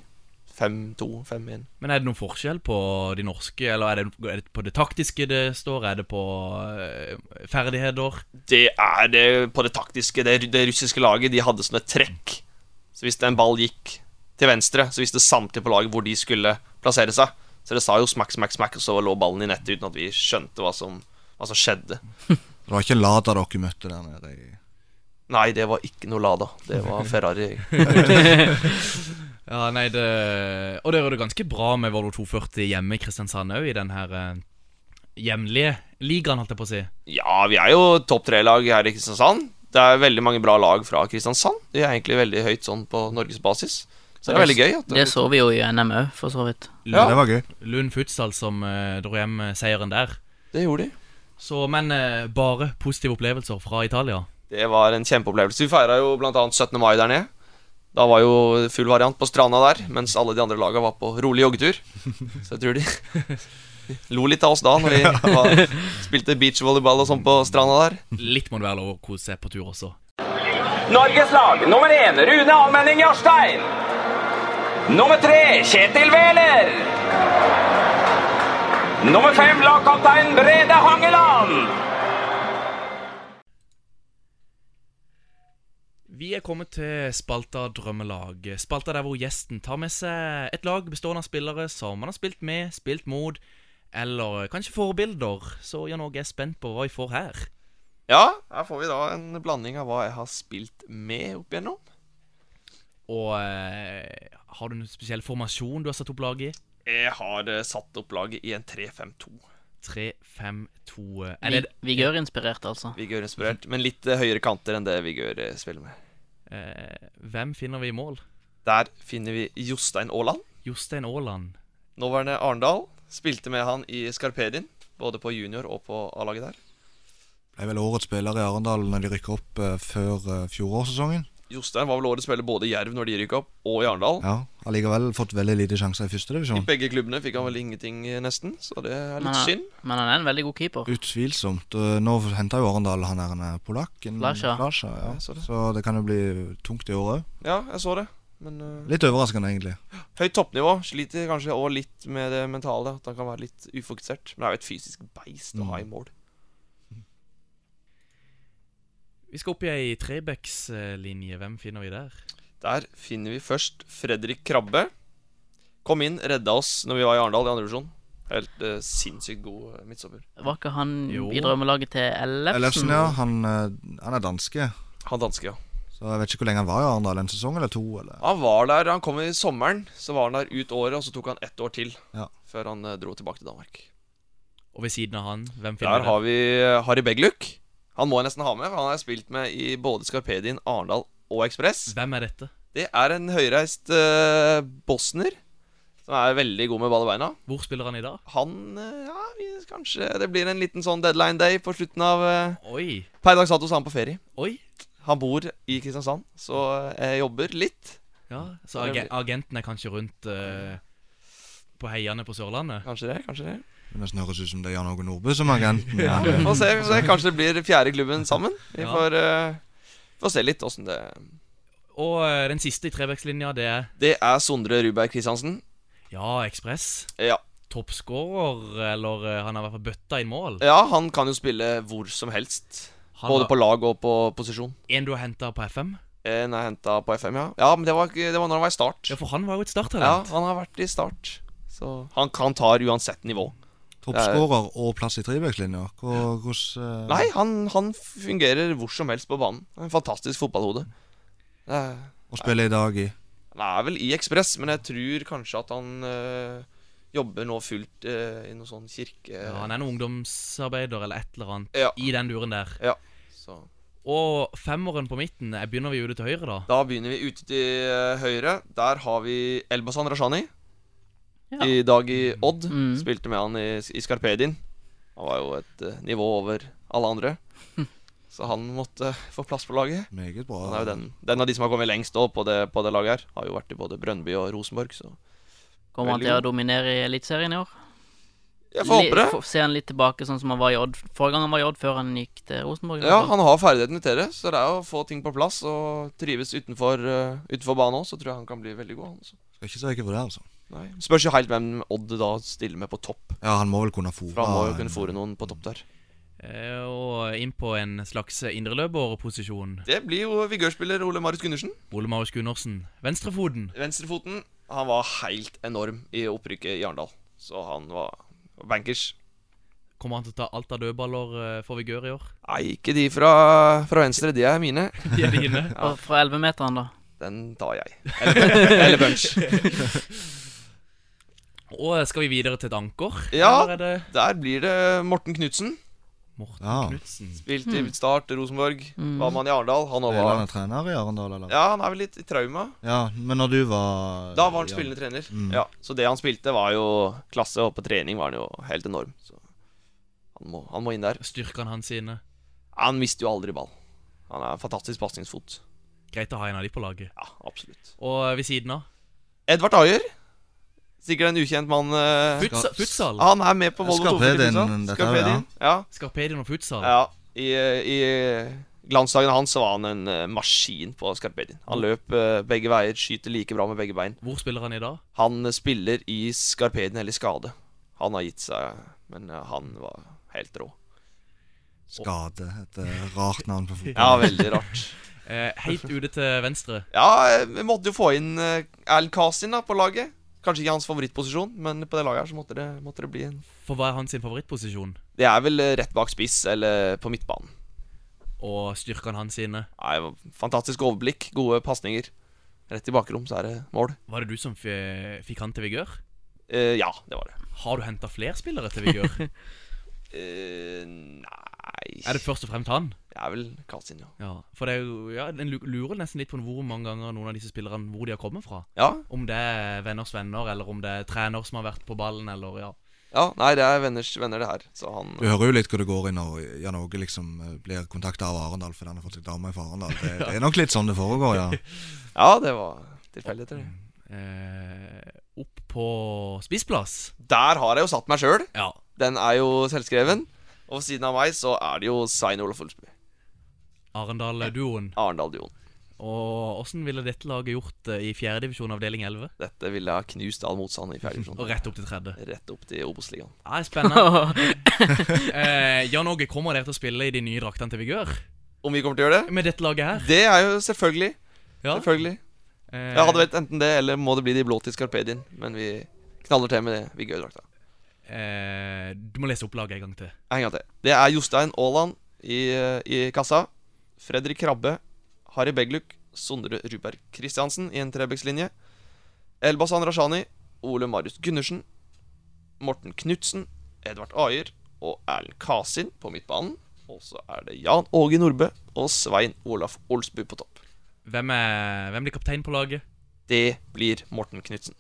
5-2, 5-1.
Men er det noen forskjell på de norske, eller er det, er det på det taktiske det står? Er det på eh, ferdigheter?
det er det på det taktiske. Det, det russiske laget de hadde sånne trekk. Så hvis det en ball gikk til venstre, så visste samtlige på laget hvor de skulle plassere seg. Så det sa jo smakk, smakk, smakk, og så lå ballen i nettet uten at vi skjønte hva som, hva som skjedde.
det var ikke Lada dere møtte der nede i
Nei, det var ikke noe Lada. Det var Ferrari.
Ja, nei, det Og det gjør det ganske bra med Volvo 240 hjemme i Kristiansand òg, i den her eh, hjemlige ligaen, holdt jeg på å si.
Ja, vi er jo topp tre-lag her i Kristiansand. Det er veldig mange bra lag fra Kristiansand. De er egentlig veldig høyt sånn på norgesbasis. Så det er veldig gøy. At
Det så vi jo i NM òg, for så vidt.
Ja, det var gøy.
Lund Futsal som eh, dro hjem eh, seieren der.
det gjorde de.
Så, men eh, bare positive opplevelser fra Italia.
Det var en kjempeopplevelse. Vi feira jo bl.a. 17. mai der nede. Da var jo full variant på stranda der, mens alle de andre laga var på rolig joggetur. Så jeg tror de [laughs] lo litt av oss da, når vi var, spilte beachvolleyball og sånn på stranda der.
Litt må det være lov å kose seg på tur også.
Norges lag nummer én Rune Almenning Jarstein. Nummer tre Kjetil Wæler. Nummer fem lagkaptein Brede Hangeland.
Vi er kommet til spalta Drømmelag. Spalta der hvor gjesten tar med seg et lag bestående av spillere som han har spilt med, spilt mot, eller kanskje forbilder. Så Jan Åge er spent på hva vi får her.
Ja, her får vi da en blanding av hva jeg har spilt med opp igjennom.
Og eh, har du en spesiell formasjon du har satt opp laget i?
Jeg har eh, satt opp laget i en 3-5-2.
3-5-2 Er
Vi,
det
Vigør-inspirert, altså.
Vigør-inspirert, men litt eh, høyere kanter enn det Vigør eh, spiller med.
eh, Hvem finner vi i mål?
Der finner vi Jostein Aaland.
Jostein Aaland.
Nåværende Arendal. Spilte med han i Skarpedien, både på junior og på A-laget der.
Ble vel årets spiller i Arendal når de rykker opp eh, før eh, fjorårssesongen.
Jostein var vel årets spiller både i Jerv når de rykka opp, og i Arendal.
Ja, Allikevel fått veldig lite sjanser
I
i førstedivisjon.
begge klubbene fikk han vel ingenting, eh, nesten, så det er litt
Men-
synd.
Men han er en veldig god keeper.
Utvilsomt. Eh, Nå henta jo Arendal han der eh, polakken
Flasha.
Flasha, ja.
Jeg så det.
Så det kan jo bli tungt i år òg.
Ja, jeg så det. Men eh,
Litt overraskende, egentlig.
høyt toppnivå. Sliter kanskje òg litt med det mentale, at han kan være litt ufokusert. Men det er jo et fysisk beist å ha i mål.
Vi skal opp i ei Trebecs-linje. Hvem finner vi der?
Der finner vi først Fredrik Krabbe. Kom inn, redda oss når vi var i Arendal i andre divisjon. Helt eh, sinnssykt god eh, midtstopper.
Var ikke han
Jo.
i drømmelaget til Ellefsen?
Ellefsen, ja. Han, eh, han er danske.
Han danske, ja.
Så jeg vet ikke hvor lenge han var i Arendal. En sesong eller to? eller?
Han var der, han kom i sommeren, så var han der ut året, og så tok han ett år til.
Ja.
Før han eh, dro tilbake til Danmark.
Og ved siden av han, hvem finner
Der har vi eh, Harry Begluk. Han må jeg nesten ha med, for han har jeg spilt med i både Skarpedien, Arendal og Ekspress.
Hvem er dette?
Det er en høyreist eh, bosner som er veldig god med ball i beina.
Hvor spiller han i dag?
Han eh, Ja, vi, kanskje det blir en liten sånn deadline day på slutten av eh,
Oi.
Per dags dato så er han på ferie.
Oi.
Han bor i Kristiansand, så eh, jeg jobber litt.
Ja, Så ag agenten er kanskje rundt eh, på heiene på Sørlandet?
Kanskje det, kanskje det.
Det nesten høres ut som det er Jan Åge Nordbø som er agenten.
[laughs] Ja, vi får se, vi får se. Kanskje det blir fjerde klubben sammen. Vi
Ja.
får, eh, får se litt åssen det
Og eh, den siste i Trebecs-linja, det er
Det er Sondre Ruberg Kristiansen.
Ja, Ekspress.
Ja.
Toppskårer, eller eh, han har i hvert fall bøtta inn mål.
ja, han kan jo spille hvor som helst.
Han
Både
har-
på lag og på posisjon.
En du har henta på FM?
En er henta på FM, ja. Ja, men det var, ikke- det var når han var i Start.
Ja, for han var jo et
Ja,
starttalent.
han har vært i Start. Så han, han tar uansett nivå.
Toppskårer og plass i Tribekslinja. Hvor- Hvordan eh,
Nei, han, han fungerer hvor som helst på banen. En fantastisk fotballhode. Det er-
Og spiller i dag i
Han er vel i Ekspress, men jeg tror kanskje at han øh, jobber nå fullt øh, i noe sånn kirke...
Ja, han er en ungdomsarbeider eller et eller annet
Ja.
i den duren der.
Ja, så.
Og femmeren på midten, eh, begynner vi jo det til høyre, da?
Da begynner vi ute til øh, høyre. Der har vi Elbasan Rashani. I dag i Odd.
Mm.
Spilte med han i, i Skarpedin. Han var jo et øh, nivå over alle andre. Så han måtte få plass på laget.
Meget bra.
Han er jo den, den av de som har kommet lengst opp på det, på det laget her. Har jo vært i både Brønnby og Rosenborg, så
Kommer han
Veldig
til å
god.
dominere i Eliteserien i år?
Jeg får håpe det.
Ser han litt tilbake sånn som han var i Odd forrige gang han var i Odd, før han gikk til Rosenborg?
Ja,
eller?
han har ferdighetene til det, så det er å få ting på plass og trives utenfor, eh, utenfor banen òg, så tror jeg han kan bli veldig god. Han, altså.
Skal ikke se ikke på det, altså.
Nei. Spørs jo helt hvem Odd da stiller med på topp.
Ja, han må vel kunne fôre
For han må jo
en-
kunne fôre noen på topp der.
Eh, Og inn på en slags indreløperposisjon.
Det blir jo vigørspiller Ole Marius Gundersen.
Ole Marius Gundersen. Venstrefoten.
Venstrefoten. Han var helt enorm i opprykket i Arendal, så han var bankers.
Kommer han til å ta alt av dødballer eh, for Vigør i år? [laughs]
Nei, ikke de fra, fra venstre, de er mine.
De er dine.
Ja,
Og Fra 11-meteren, da?
den tar jeg. Eller, eller [laughs] bunch.
Og eh, skal vi videre til et anker? Eller
Ja,
er det
der blir det Morten Knutsen.
Morten
Ja.
Knutsen?
Spilt i Start, Rosenborg.
Mm.
Var man i Arendal. Han òg
Spiller
var
han er trener i Arendal, eller?
Ja, han er vel litt i trauma.
Ja, men når du var
Da var han
i
spillende trener.
Mm.
Ja, Så det han spilte, var jo klasse, og på trening var han jo helt enorm. Så han må, han må inn der.
Styrkene hans sine.
Han mister jo aldri ball. Han er en fantastisk pasningsfot.
Greit å ha en av de på laget.
Ja, absolutt.
Og ved siden av
Edvard Ayer. Sikkert en ukjent mann. eh.
Futsa- Futsal.
Han er med på Volvo 240
Skarpedien,
Futsal.
dette her,
Skarpedien, Ja.
Skarpedien og futsal.
ja. I, eh, I glansdagene hans så var han en eh, maskin på Skarpedien. Han løp eh, begge veier, skyter like bra med begge bein.
Hvor spiller han i dag?
Han eh, spiller i Skarpedien eller Skade. Han har gitt seg, men eh, han var helt rå.
Skade, et eh, rart navn på fotball.
Ja, veldig rart.
Eh, helt ute til venstre.
Ja, eh, vi måtte jo få inn eh, Al Kasin da, på laget. Kanskje ikke hans favorittposisjon, men på det laget her så måtte det, måtte det bli en
For hva er hans sin favorittposisjon?
Det er vel eh, rett bak spiss eller på midtbanen.
Og styrkene hans sine.
Nei, fantastisk overblikk, gode pasninger. Rett i bakrom, så er det mål.
Var det du som f fikk han til Vigør?
Eh, ja, det var det.
Har du henta flere spillere til Vigør? [laughs]
Eh, nei
er det først og fremst han?
Det er vel Kasin, ja.
Ja, for det er jo, ja, En lu- lurer nesten litt på hvor mange ganger noen av disse spillerne hvor de har kommet fra.
Ja,
Om det er venners venner, eller om det er trener som har vært på ballen, eller ja.
ja Nei, det er venners venner, det her. Så han
Du hører jo litt hvor det går i når Jan Åge liksom eh, blir kontakta av Arendal fordi han har fått seg dame fra Arendal. Det, det er nok litt sånn det foregår, ja.
Ja, det var tilfeldigheter, det.
Eh, opp på spissplass.
Der har jeg jo satt meg sjøl.
Ja.
Den er jo selvskreven. Og ved siden av meg så er det jo Svein Olaf Olsby.
Arendal-duoen.
Arendal-duoen.
Og åssen ville dette laget gjort eh, i fjerdedivisjon avdeling 11?
Dette ville ha knust all motstand i fjerde divisjon.
[laughs] Og rett opp til tredje.
Rett opp til Obos-ligaen.
[laughs] Ja, det er spennende. eh, Jan Åge, kommer dere til å spille i de nye draktene til Vigør?
Om vi kommer til å gjøre det?
Med dette laget her?
Det er jo selvfølgelig.
Ja.
Selvfølgelig.
Eh,
Jeg hadde vært enten det, eller må det bli de blå til Scarpedien. Men vi knaller til med det. Vi gøy drakta.
eh, Du må lese opp laget en gang til.
En gang til. Det er Jostein Aaland i, eh, i kassa. Fredrik Krabbe. Harry Begluk. Sondre Ruberg Kristiansen i en trebekslinje. Elbasan Rashani. Ole Marius Gundersen. Morten Knutsen. Edvard Ayer. Og Erlend Kasin på midtbanen. Og så er det Jan Åge Nordbø og Svein Olaf Olsbu på topp.
Hvem, er, hvem blir kaptein på laget?
Det blir Morten Knutsen.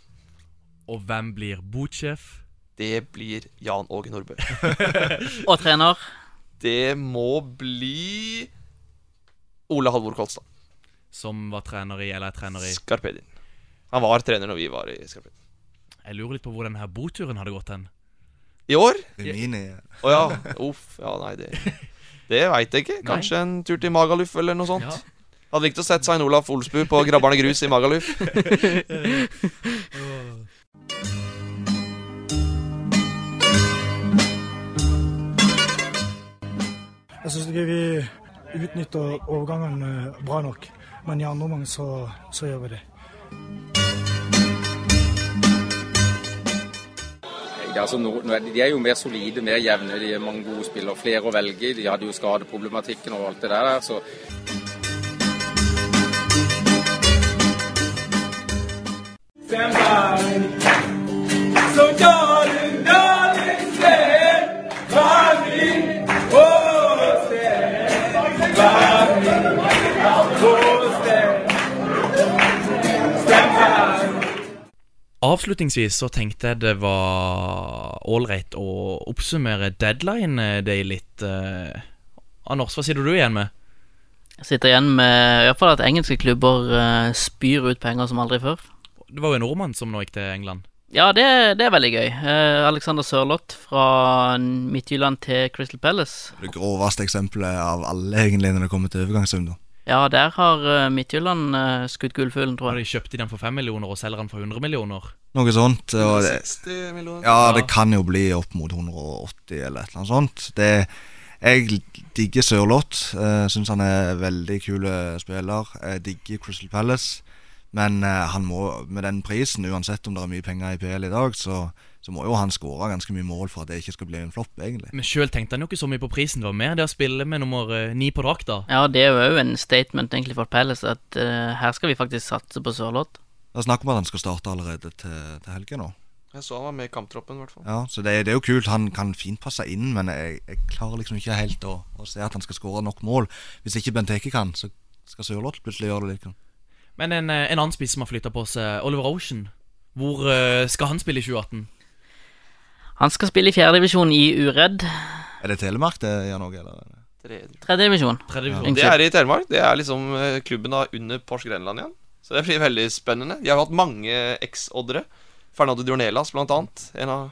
Og hvem blir botsjef?
Det blir Jan Åge Nordbø. [laughs]
Og trener.
Det må bli Ole Halvor Kolstad.
Som var trener i, eller er trener i
Skarpedin. Han var trener når vi var i Skarpedin.
Jeg lurer litt på hvor denne her boturen hadde gått hen.
I år?
Rimini.
Å ja. Uff. Ja, nei, det Det veit jeg ikke. Kanskje en tur til Magaluf eller noe sånt.
Ja.
Hadde likt å sett Svein Olaf Olsbu på Grabbarne Grus i Magaluf.
Jeg syns ikke vi utnytter overgangen eh, bra nok. Men i andre omgang så, så gjør vi det.
Nei, det er Altså, nå- nå er de- de er jo mer solide, mer jevne. De er mange gode spillere, flere å velge i. De hadde jo skadeproblematikken og alt det der. Så
So darling, darling, stand by me. Oh, stand by me. Oh, stand. Stand by me.
Avslutningsvis så tenkte jeg det var ålreit å oppsummere deadline day litt. eh. Anders, hva sier du igjen med?
Jeg sitter igjen med i hvert fall at engelske klubber eh, spyr ut penger som aldri før.
Det var jo en nordmann som nå gikk til England.
Ja, det, det er veldig gøy. Eh, Alexander Sørloth fra Midtjylland til Crystal Palace.
Det groveste eksempelet av alle, egentlig, når det kommer til overgangsrunder.
Ja, der har eh, Midtjylland eh, skutt gullfuglen, tror jeg.
Har de kjøpt den for 5 millioner og selger den for 100 millioner?
Noe sånt. Og [laughs] det,
60 millioner.
ja,
Ja.
det kan jo bli opp mot 180 eller et eller annet sånt. Det, jeg digger Sørloth. Uh, Syns han er veldig kul spiller. Jeg digger Crystal Palace. Men eh, han må, med den prisen, uansett om det er mye penger i PL i dag, så, så må jo han skåre ganske mye mål for at det ikke skal bli en flopp, egentlig.
Men sjøl tenkte han jo ikke så mye på prisen. Det var mer det å spille med nummer eh, ni på drakta.
Ja, det er jo en statement egentlig for Palace at eh, her skal vi faktisk satse på Sørloth.
Det er snakk om at han skal starte allerede til, til helga nå.
Jeg så han var med i kamptroppen, i hvert fall.
Ja, så det, det er jo kult. Han kan fint passe inn, men jeg, jeg klarer liksom ikke helt å, å se at han skal skåre nok mål. Hvis ikke Bent Eke kan, så skal Sørloth plutselig gjøre det. Liksom.
Men en, eh, en annen spiss som har flytta på seg, Oliver Ocean. Hvor eh, skal han spille i 2018?
Han skal spille i fjerdedivisjon i Uredd.
Er det Telemark det gjør noe, eller?
Tredje.
Tredjedivisjon.
Tredje
Det er i Telemark. Det er liksom eh, klubben da under Pors Grenland igjen. Så det blir veldig spennende. De har jo hatt mange eks-oddere. Fernando Dornelas, blant annet. En av,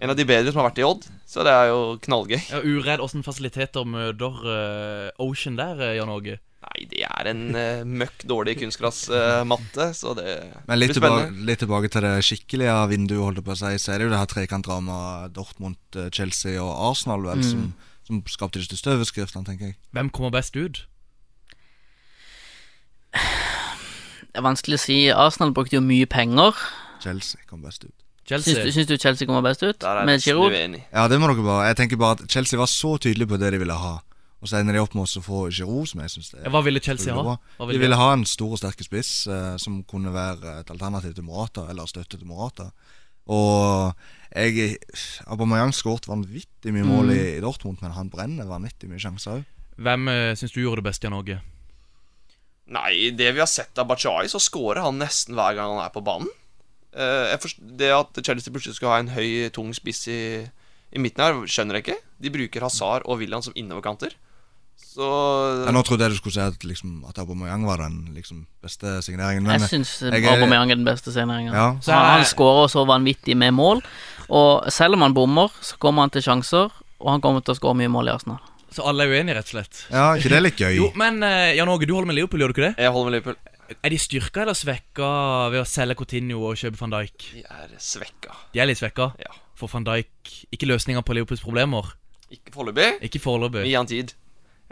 en av de bedre som har vært i Odd. Så det er jo knallgøy.
Ja, uredd åssen fasiliteter møter eh, Ocean der, eh, Jan Åge.
Nei, det er en eh, møkk dårlig kunstgressmatte, så det
Men litt
blir spennende.
tilbake, litt tilbake til det skikkelige vinduet, holdt jeg på å si, så er det jo det her trekantdramaet Dortmund, eh, Chelsea og Arsenal, vel,
Mm.
som, som skapte de største overskriftene, tenker jeg.
Hvem kommer best ut?
Det er vanskelig å si. Arsenal brukte jo mye penger.
Chelsea kom best ut.
Syns
Chelsea.
du, syns du Chelsea kommer best ut
Der er
med
jeg nesten
Giroud?
uenig.
Ja, det må dere bare Jeg tenker bare at Chelsea var så tydelig på det de ville ha, og så ender de opp med å få Giroud, som jeg syns det
Ja,
er
Hva ville Chelsea ha?
Utrolig bra.
Hva
De
ville
ville ha en stor og sterk spiss eh, som kunne være et alternativ til Morata, eller støtte til Morata. Og jeg Aubameyang skåret vanvittig mye mål i,
Mm.
i Dortmund, men han brenner vanvittig mye sjanser òg.
Hvem uh, syns du gjorde det best, Jan Åge?
Nei, det vi har sett av Bachai, så scorer han nesten hver gang han er på banen. Eh, jeg forst- det at Chelsea plutselig skal ha en høy, tung spiss i, i midten her, skjønner jeg ikke. De bruker Hazard og William som innoverkanter. Så
Nå trodde jeg du skulle si at, liksom, at Aubameyang var den liksom, beste signeringen. Men
Jeg syns
jeg er-
Aubameyang er den beste seneringen.
ja,
Så
Han, han
jeg-
skårer så vanvittig med mål, og selv om han bommer, så kommer han til sjanser, og han kommer til å skåre mye mål i Arsenal.
Så alle er uenige, rett og slett.
ja, ikke det er
[laughs]
litt gøy?
Jo, men eh, Jan Åge, du holder med Liverpool, gjør du ikke det?
jeg holder med Liverpool.
Er de styrka eller svekka ved å selge Coutinho og kjøpe van Dijk?
De er svekka.
De er litt svekka.
Ja.
For van Dijk ikke løsninger på Liverpools problemer.
Ikke foreløpig.
Ikke
Vi
foreløpig.
gir han tid.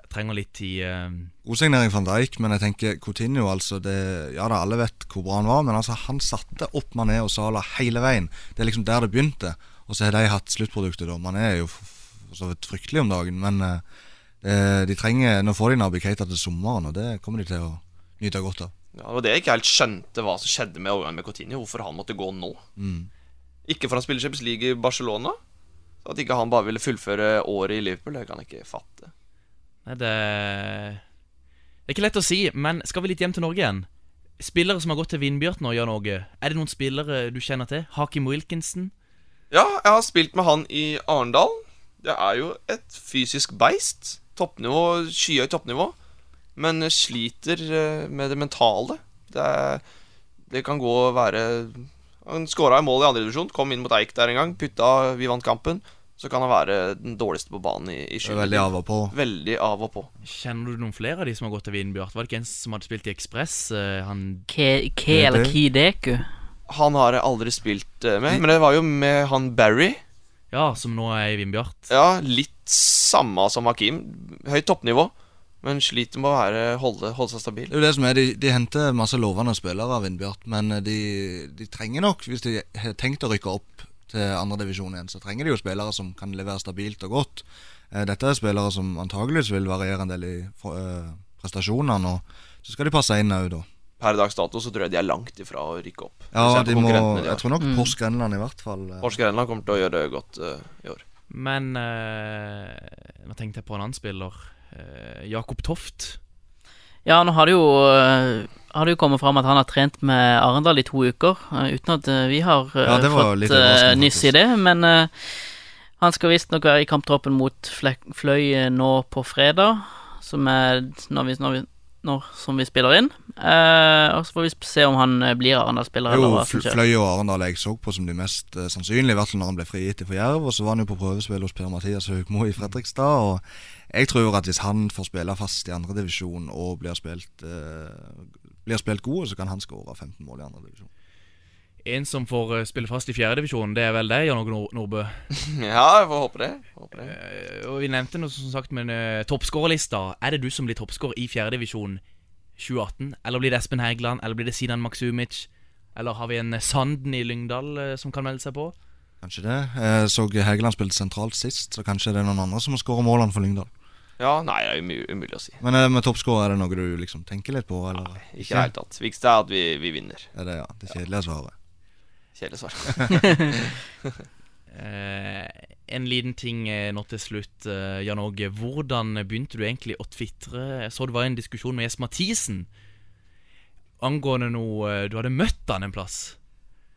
Jeg trenger litt tid. eh.
God signering van Dijk, men jeg tenker Coutinho altså det, Ja da, alle vet hvor bra han var, men altså han satte opp Mané og Salah hele veien. Det er liksom der det begynte. Og så har de hatt sluttproduktet, da. Mané er jo f- for så vidt fryktelig om dagen, men eh, eh, de trenger Nå får de Nabi Keita til sommeren, og det kommer de til å nyte godt av.
Ja, det var det jeg ikke helt skjønte hva som skjedde med overgangen med Coutinho. Hvorfor han måtte gå nå.
Mm.
Ikke for han spiller Champions League i Barcelona. At ikke han bare ville fullføre året i Liverpool, det kan jeg ikke fatte.
Nei, det Det er ikke lett å si, men skal vi litt hjem til Norge igjen? Spillere som har gått til Vindbjørn og gjør noe. Er det noen spillere du kjenner til? Hakim Wilkinson?
Ja, jeg har spilt med han i Arendal. Det er jo et fysisk beist. Toppnivå, Skyhøyt toppnivå. Men sliter eh, med det mentale. Det, er, det kan gå og være Han skåra i mål i andre divisjon, kom inn mot Eik der en gang, putta, vi vant kampen. Så kan han være den dårligste på banen i, i
Det er veldig av og på.
Veldig av og på.
Kjenner du noen flere av de som har gått til Vindbjørn? Var det ikke en som hadde spilt i Ekspress? Eh, Han
Ke, Ke eller Kideku?
Han har jeg aldri spilt eh, med, men det var jo med han Barry.
Ja, som nå er i Vindbjart.
Ja, litt samme som Hakim. Høyt toppnivå, men sliter med å være, holde, holde seg stabil.
Det er jo det som er, De, de henter masse lovende spillere av Vindbjart, men eh, de, de trenger nok, hvis de har tenkt å rykke opp til andredivisjon igjen, så trenger de jo spillere som kan levere stabilt og godt. Eh, Dette er spillere som antageligvis vil variere en del i for- eh, prestasjonene, og så skal de passe inn òg, da.
Per dags dato så tror jeg de er langt ifra å rykke opp.
Ja,
Hvis jeg er
de
på
må,
konkurrentene de har.
jeg tror nok Pors Grenland i hvert fall. eh,
Porsche Grenland kommer til å gjøre det godt eh, i år.
Men eh, nå tenkte jeg på en annen spiller. Eh, Jakob Toft.
Ja, nå har det jo, eh, har det jo kommet fram at han har trent med Arendal i to uker, eh, uten at eh, vi har eh,
Ja, det var litt
fått
overraskende,
eh, nyss i det. Men eh, han skal visstnok være i kamptroppen mot Flek Fløy eh, nå på fredag, som er når vi, når vi, når, som vi spiller inn. Eh, og så får vi sp- se om han eh, blir Arendal-spiller. eller
Jo,
hva som
Fl-
skjer.
Fløy og Arendal jeg så på som de mest eh, sannsynlige, i hvert fall når han ble frigitt for Jerv. Og så var han jo på prøvespill hos Per-Mathias Høgmo i Fredrikstad. Og jeg tror at hvis han får spille fast i andredivisjon og blir spilt, eh, blir spilt god, så kan han skåre 15 mål i andredivisjon.
En som får eh, spille fast i fjerdedivisjon, det er vel deg, Jan Åge Nor- Nordbø?
Ja, jeg får håpe det. Håper det.
Eh, og vi nevnte noe som sagt med uh, toppskårerlista. Er det du som blir toppskårer i fjerdedivisjon 2018? Eller blir det Espen Hægeland? Eller blir det Sinan Maksumic? Eller har vi en eh, Sanden i Lyngdal eh, som kan melde seg på?
Kanskje det. Jeg så Hægeland spilte sentralt sist, så kanskje det er noen andre som må skåre målene for Lyngdal.
Ja, nei, det er umulig, umulig å si.
Men eh, med toppskårer, er det noe du liksom tenker litt på, eller?
Ikke i det hele tatt. Viktigste er at vi, vi vinner.
Er det ja, det kjedelige svaret.
Kjedelig svar.
Eh, en liten ting eh, nå til slutt, eh, Jan Åge. Hvordan begynte du egentlig å tvitre? Jeg så det var en diskusjon med Jesper Mathisen angående noe eh, Du hadde møtt han en plass.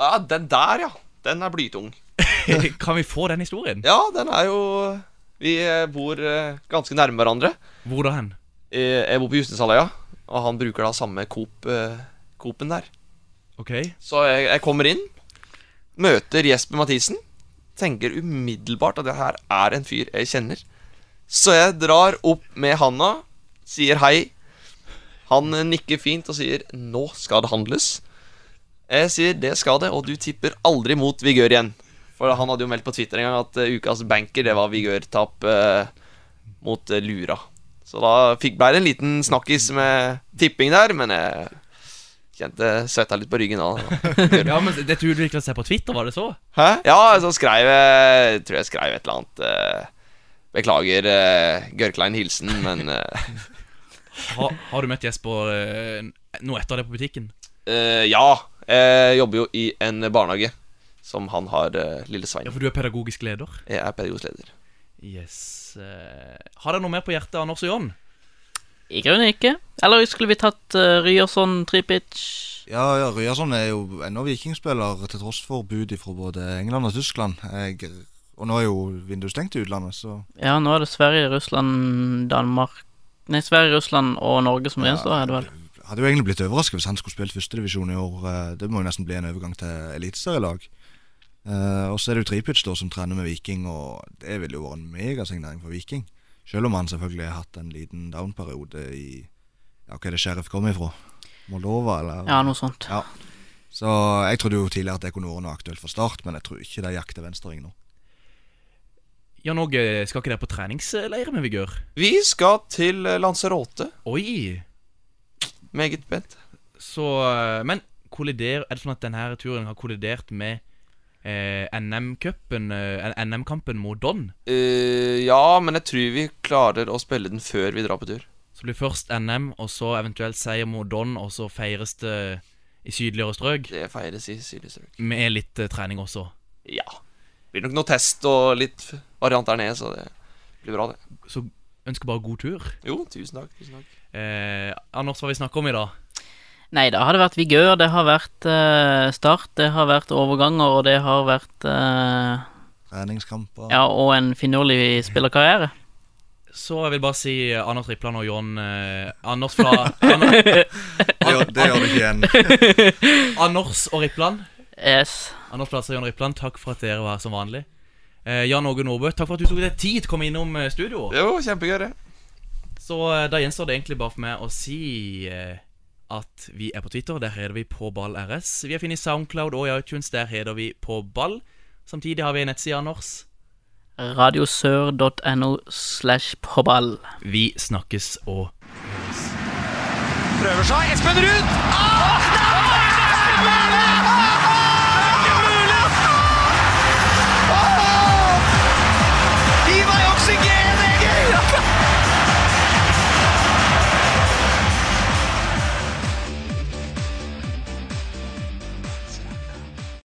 Ja, den der, ja. Den er blytung.
kan vi få den historien?
Ja, den er jo Vi eh, bor eh, ganske nærme hverandre.
Hvor da hen?
Jeg bor på Justedsaløya, eh, og han bruker da samme Coop, eh, Coopen der.
Ok.
Så jeg, jeg kommer inn, møter Jesper Mathisen. Tenker umiddelbart at det her er en fyr jeg kjenner. Så jeg drar opp med handa, sier hei. Han eh, nikker fint og sier 'nå skal det handles'. Jeg sier 'det skal det', og du tipper aldri mot Vigør igjen. For han hadde jo meldt på Twitter en gang at eh, ukas banker, det var Vigør-tap eh, mot eh, Lura. Så da fikk, ble det en liten snakkis med tipping der, men jeg kjente svetta litt på ryggen av det.
ja, men Dette utvikla seg på Twitter, var det så?
Hæ? Ja, så skrev jeg Tror jeg skrev et eller annet eh, Beklager eh, Gørklein hilsen, men eh,
Ha, har du møtt Jesper eh, nå etter det på butikken?
eh, Ja, jeg jobber jo i en barnehage som han har, eh, lille Svein.
Ja, for du er pedagogisk leder.
Jeg er pedagogisk leder.
Yes. eh, har dere noe mer på hjertet, Anders og John?
I grunnen ikke. Eller skulle vi tatt uh, Ryerson, Tripic
Ja, ja Ryerson er jo ennå vikingspiller, til tross for bud fra både England og Tyskland. Jeg, og nå er jo vinduet stengt i utlandet, så
Ja, nå er det Sverige, Russland, Danmark Nei, Sverige, Russland og Norge som gjenstår, er det vel?
jeg hadde jo egentlig blitt overrasket hvis han skulle spilt førstedivisjon i år. Eh, Det må jo nesten bli en overgang til eliteserielag. Eh, og så er det jo Tripic da som trener med Viking, og det ville jo vært en megasignering for Viking. Selv om han selvfølgelig har hatt en liten down-periode i Ja, hva er det Sheriff kom ifra? Moldova, eller?
Ja, noe sånt.
Ja. Så jeg trodde jo tidligere at det kunne vært noe aktuelt for Start, men jeg tror ikke de jakter venstreving nå.
Jan Åge, eh, skal ikke dere på treningsleir med Vigør?
Vi skal til eh, Lanzarote.
Oi!
Meget spent.
Så eh, Men kollider, er det sånn at denne her turen har kollidert med eh, NM-cupen eh, NM-kampen mot Don?
Eh, ja, men jeg tror vi klarer å spille den før vi drar på tur.
Så blir først NM, og så eventuelt seier mot Don, og så feires det i sydligere strøk?
Det feires i sydligere strøk.
Med litt eh, trening også?
Ja. Det blir nok noe test og litt variant der nede, så det blir bra, det.
Så ønsker bare god tur.
Jo, tusen takk. Tusen takk.
Eh, Anders, hva vi snakker om i dag?
Nei, det har det vært vigør, det har vært eh, start, det har vært overganger, og det har vært eh,
Treningskamper.
Ja, og en finurlig spillerkarriere.
Så jeg vil bare si eh, Anders Rippland og John eh, Anders fra [laughs] Anders,
gjør- det gjør det ikke igjen.
Anders og Rippland.
Yes.
Anders Plasser og John Rippland, takk for at dere var her som vanlig. Eh, Jan Åge Nordbø, takk for at du tok deg tid til å komme innom eh, studio.
Jo, kjempegøy, det.
Så eh, da gjenstår det egentlig bare for meg å si eh, at vi er på Twitter. Der heter vi På Ball RS. Vi er funnet i Soundcloud og i iTunes. Der heter vi På Ball. Samtidig har vi en nettside, Anders.
Radiosør.no slash påball.
Vi snakkes og
Prøver seg. Espen Ruud! Ah, nei!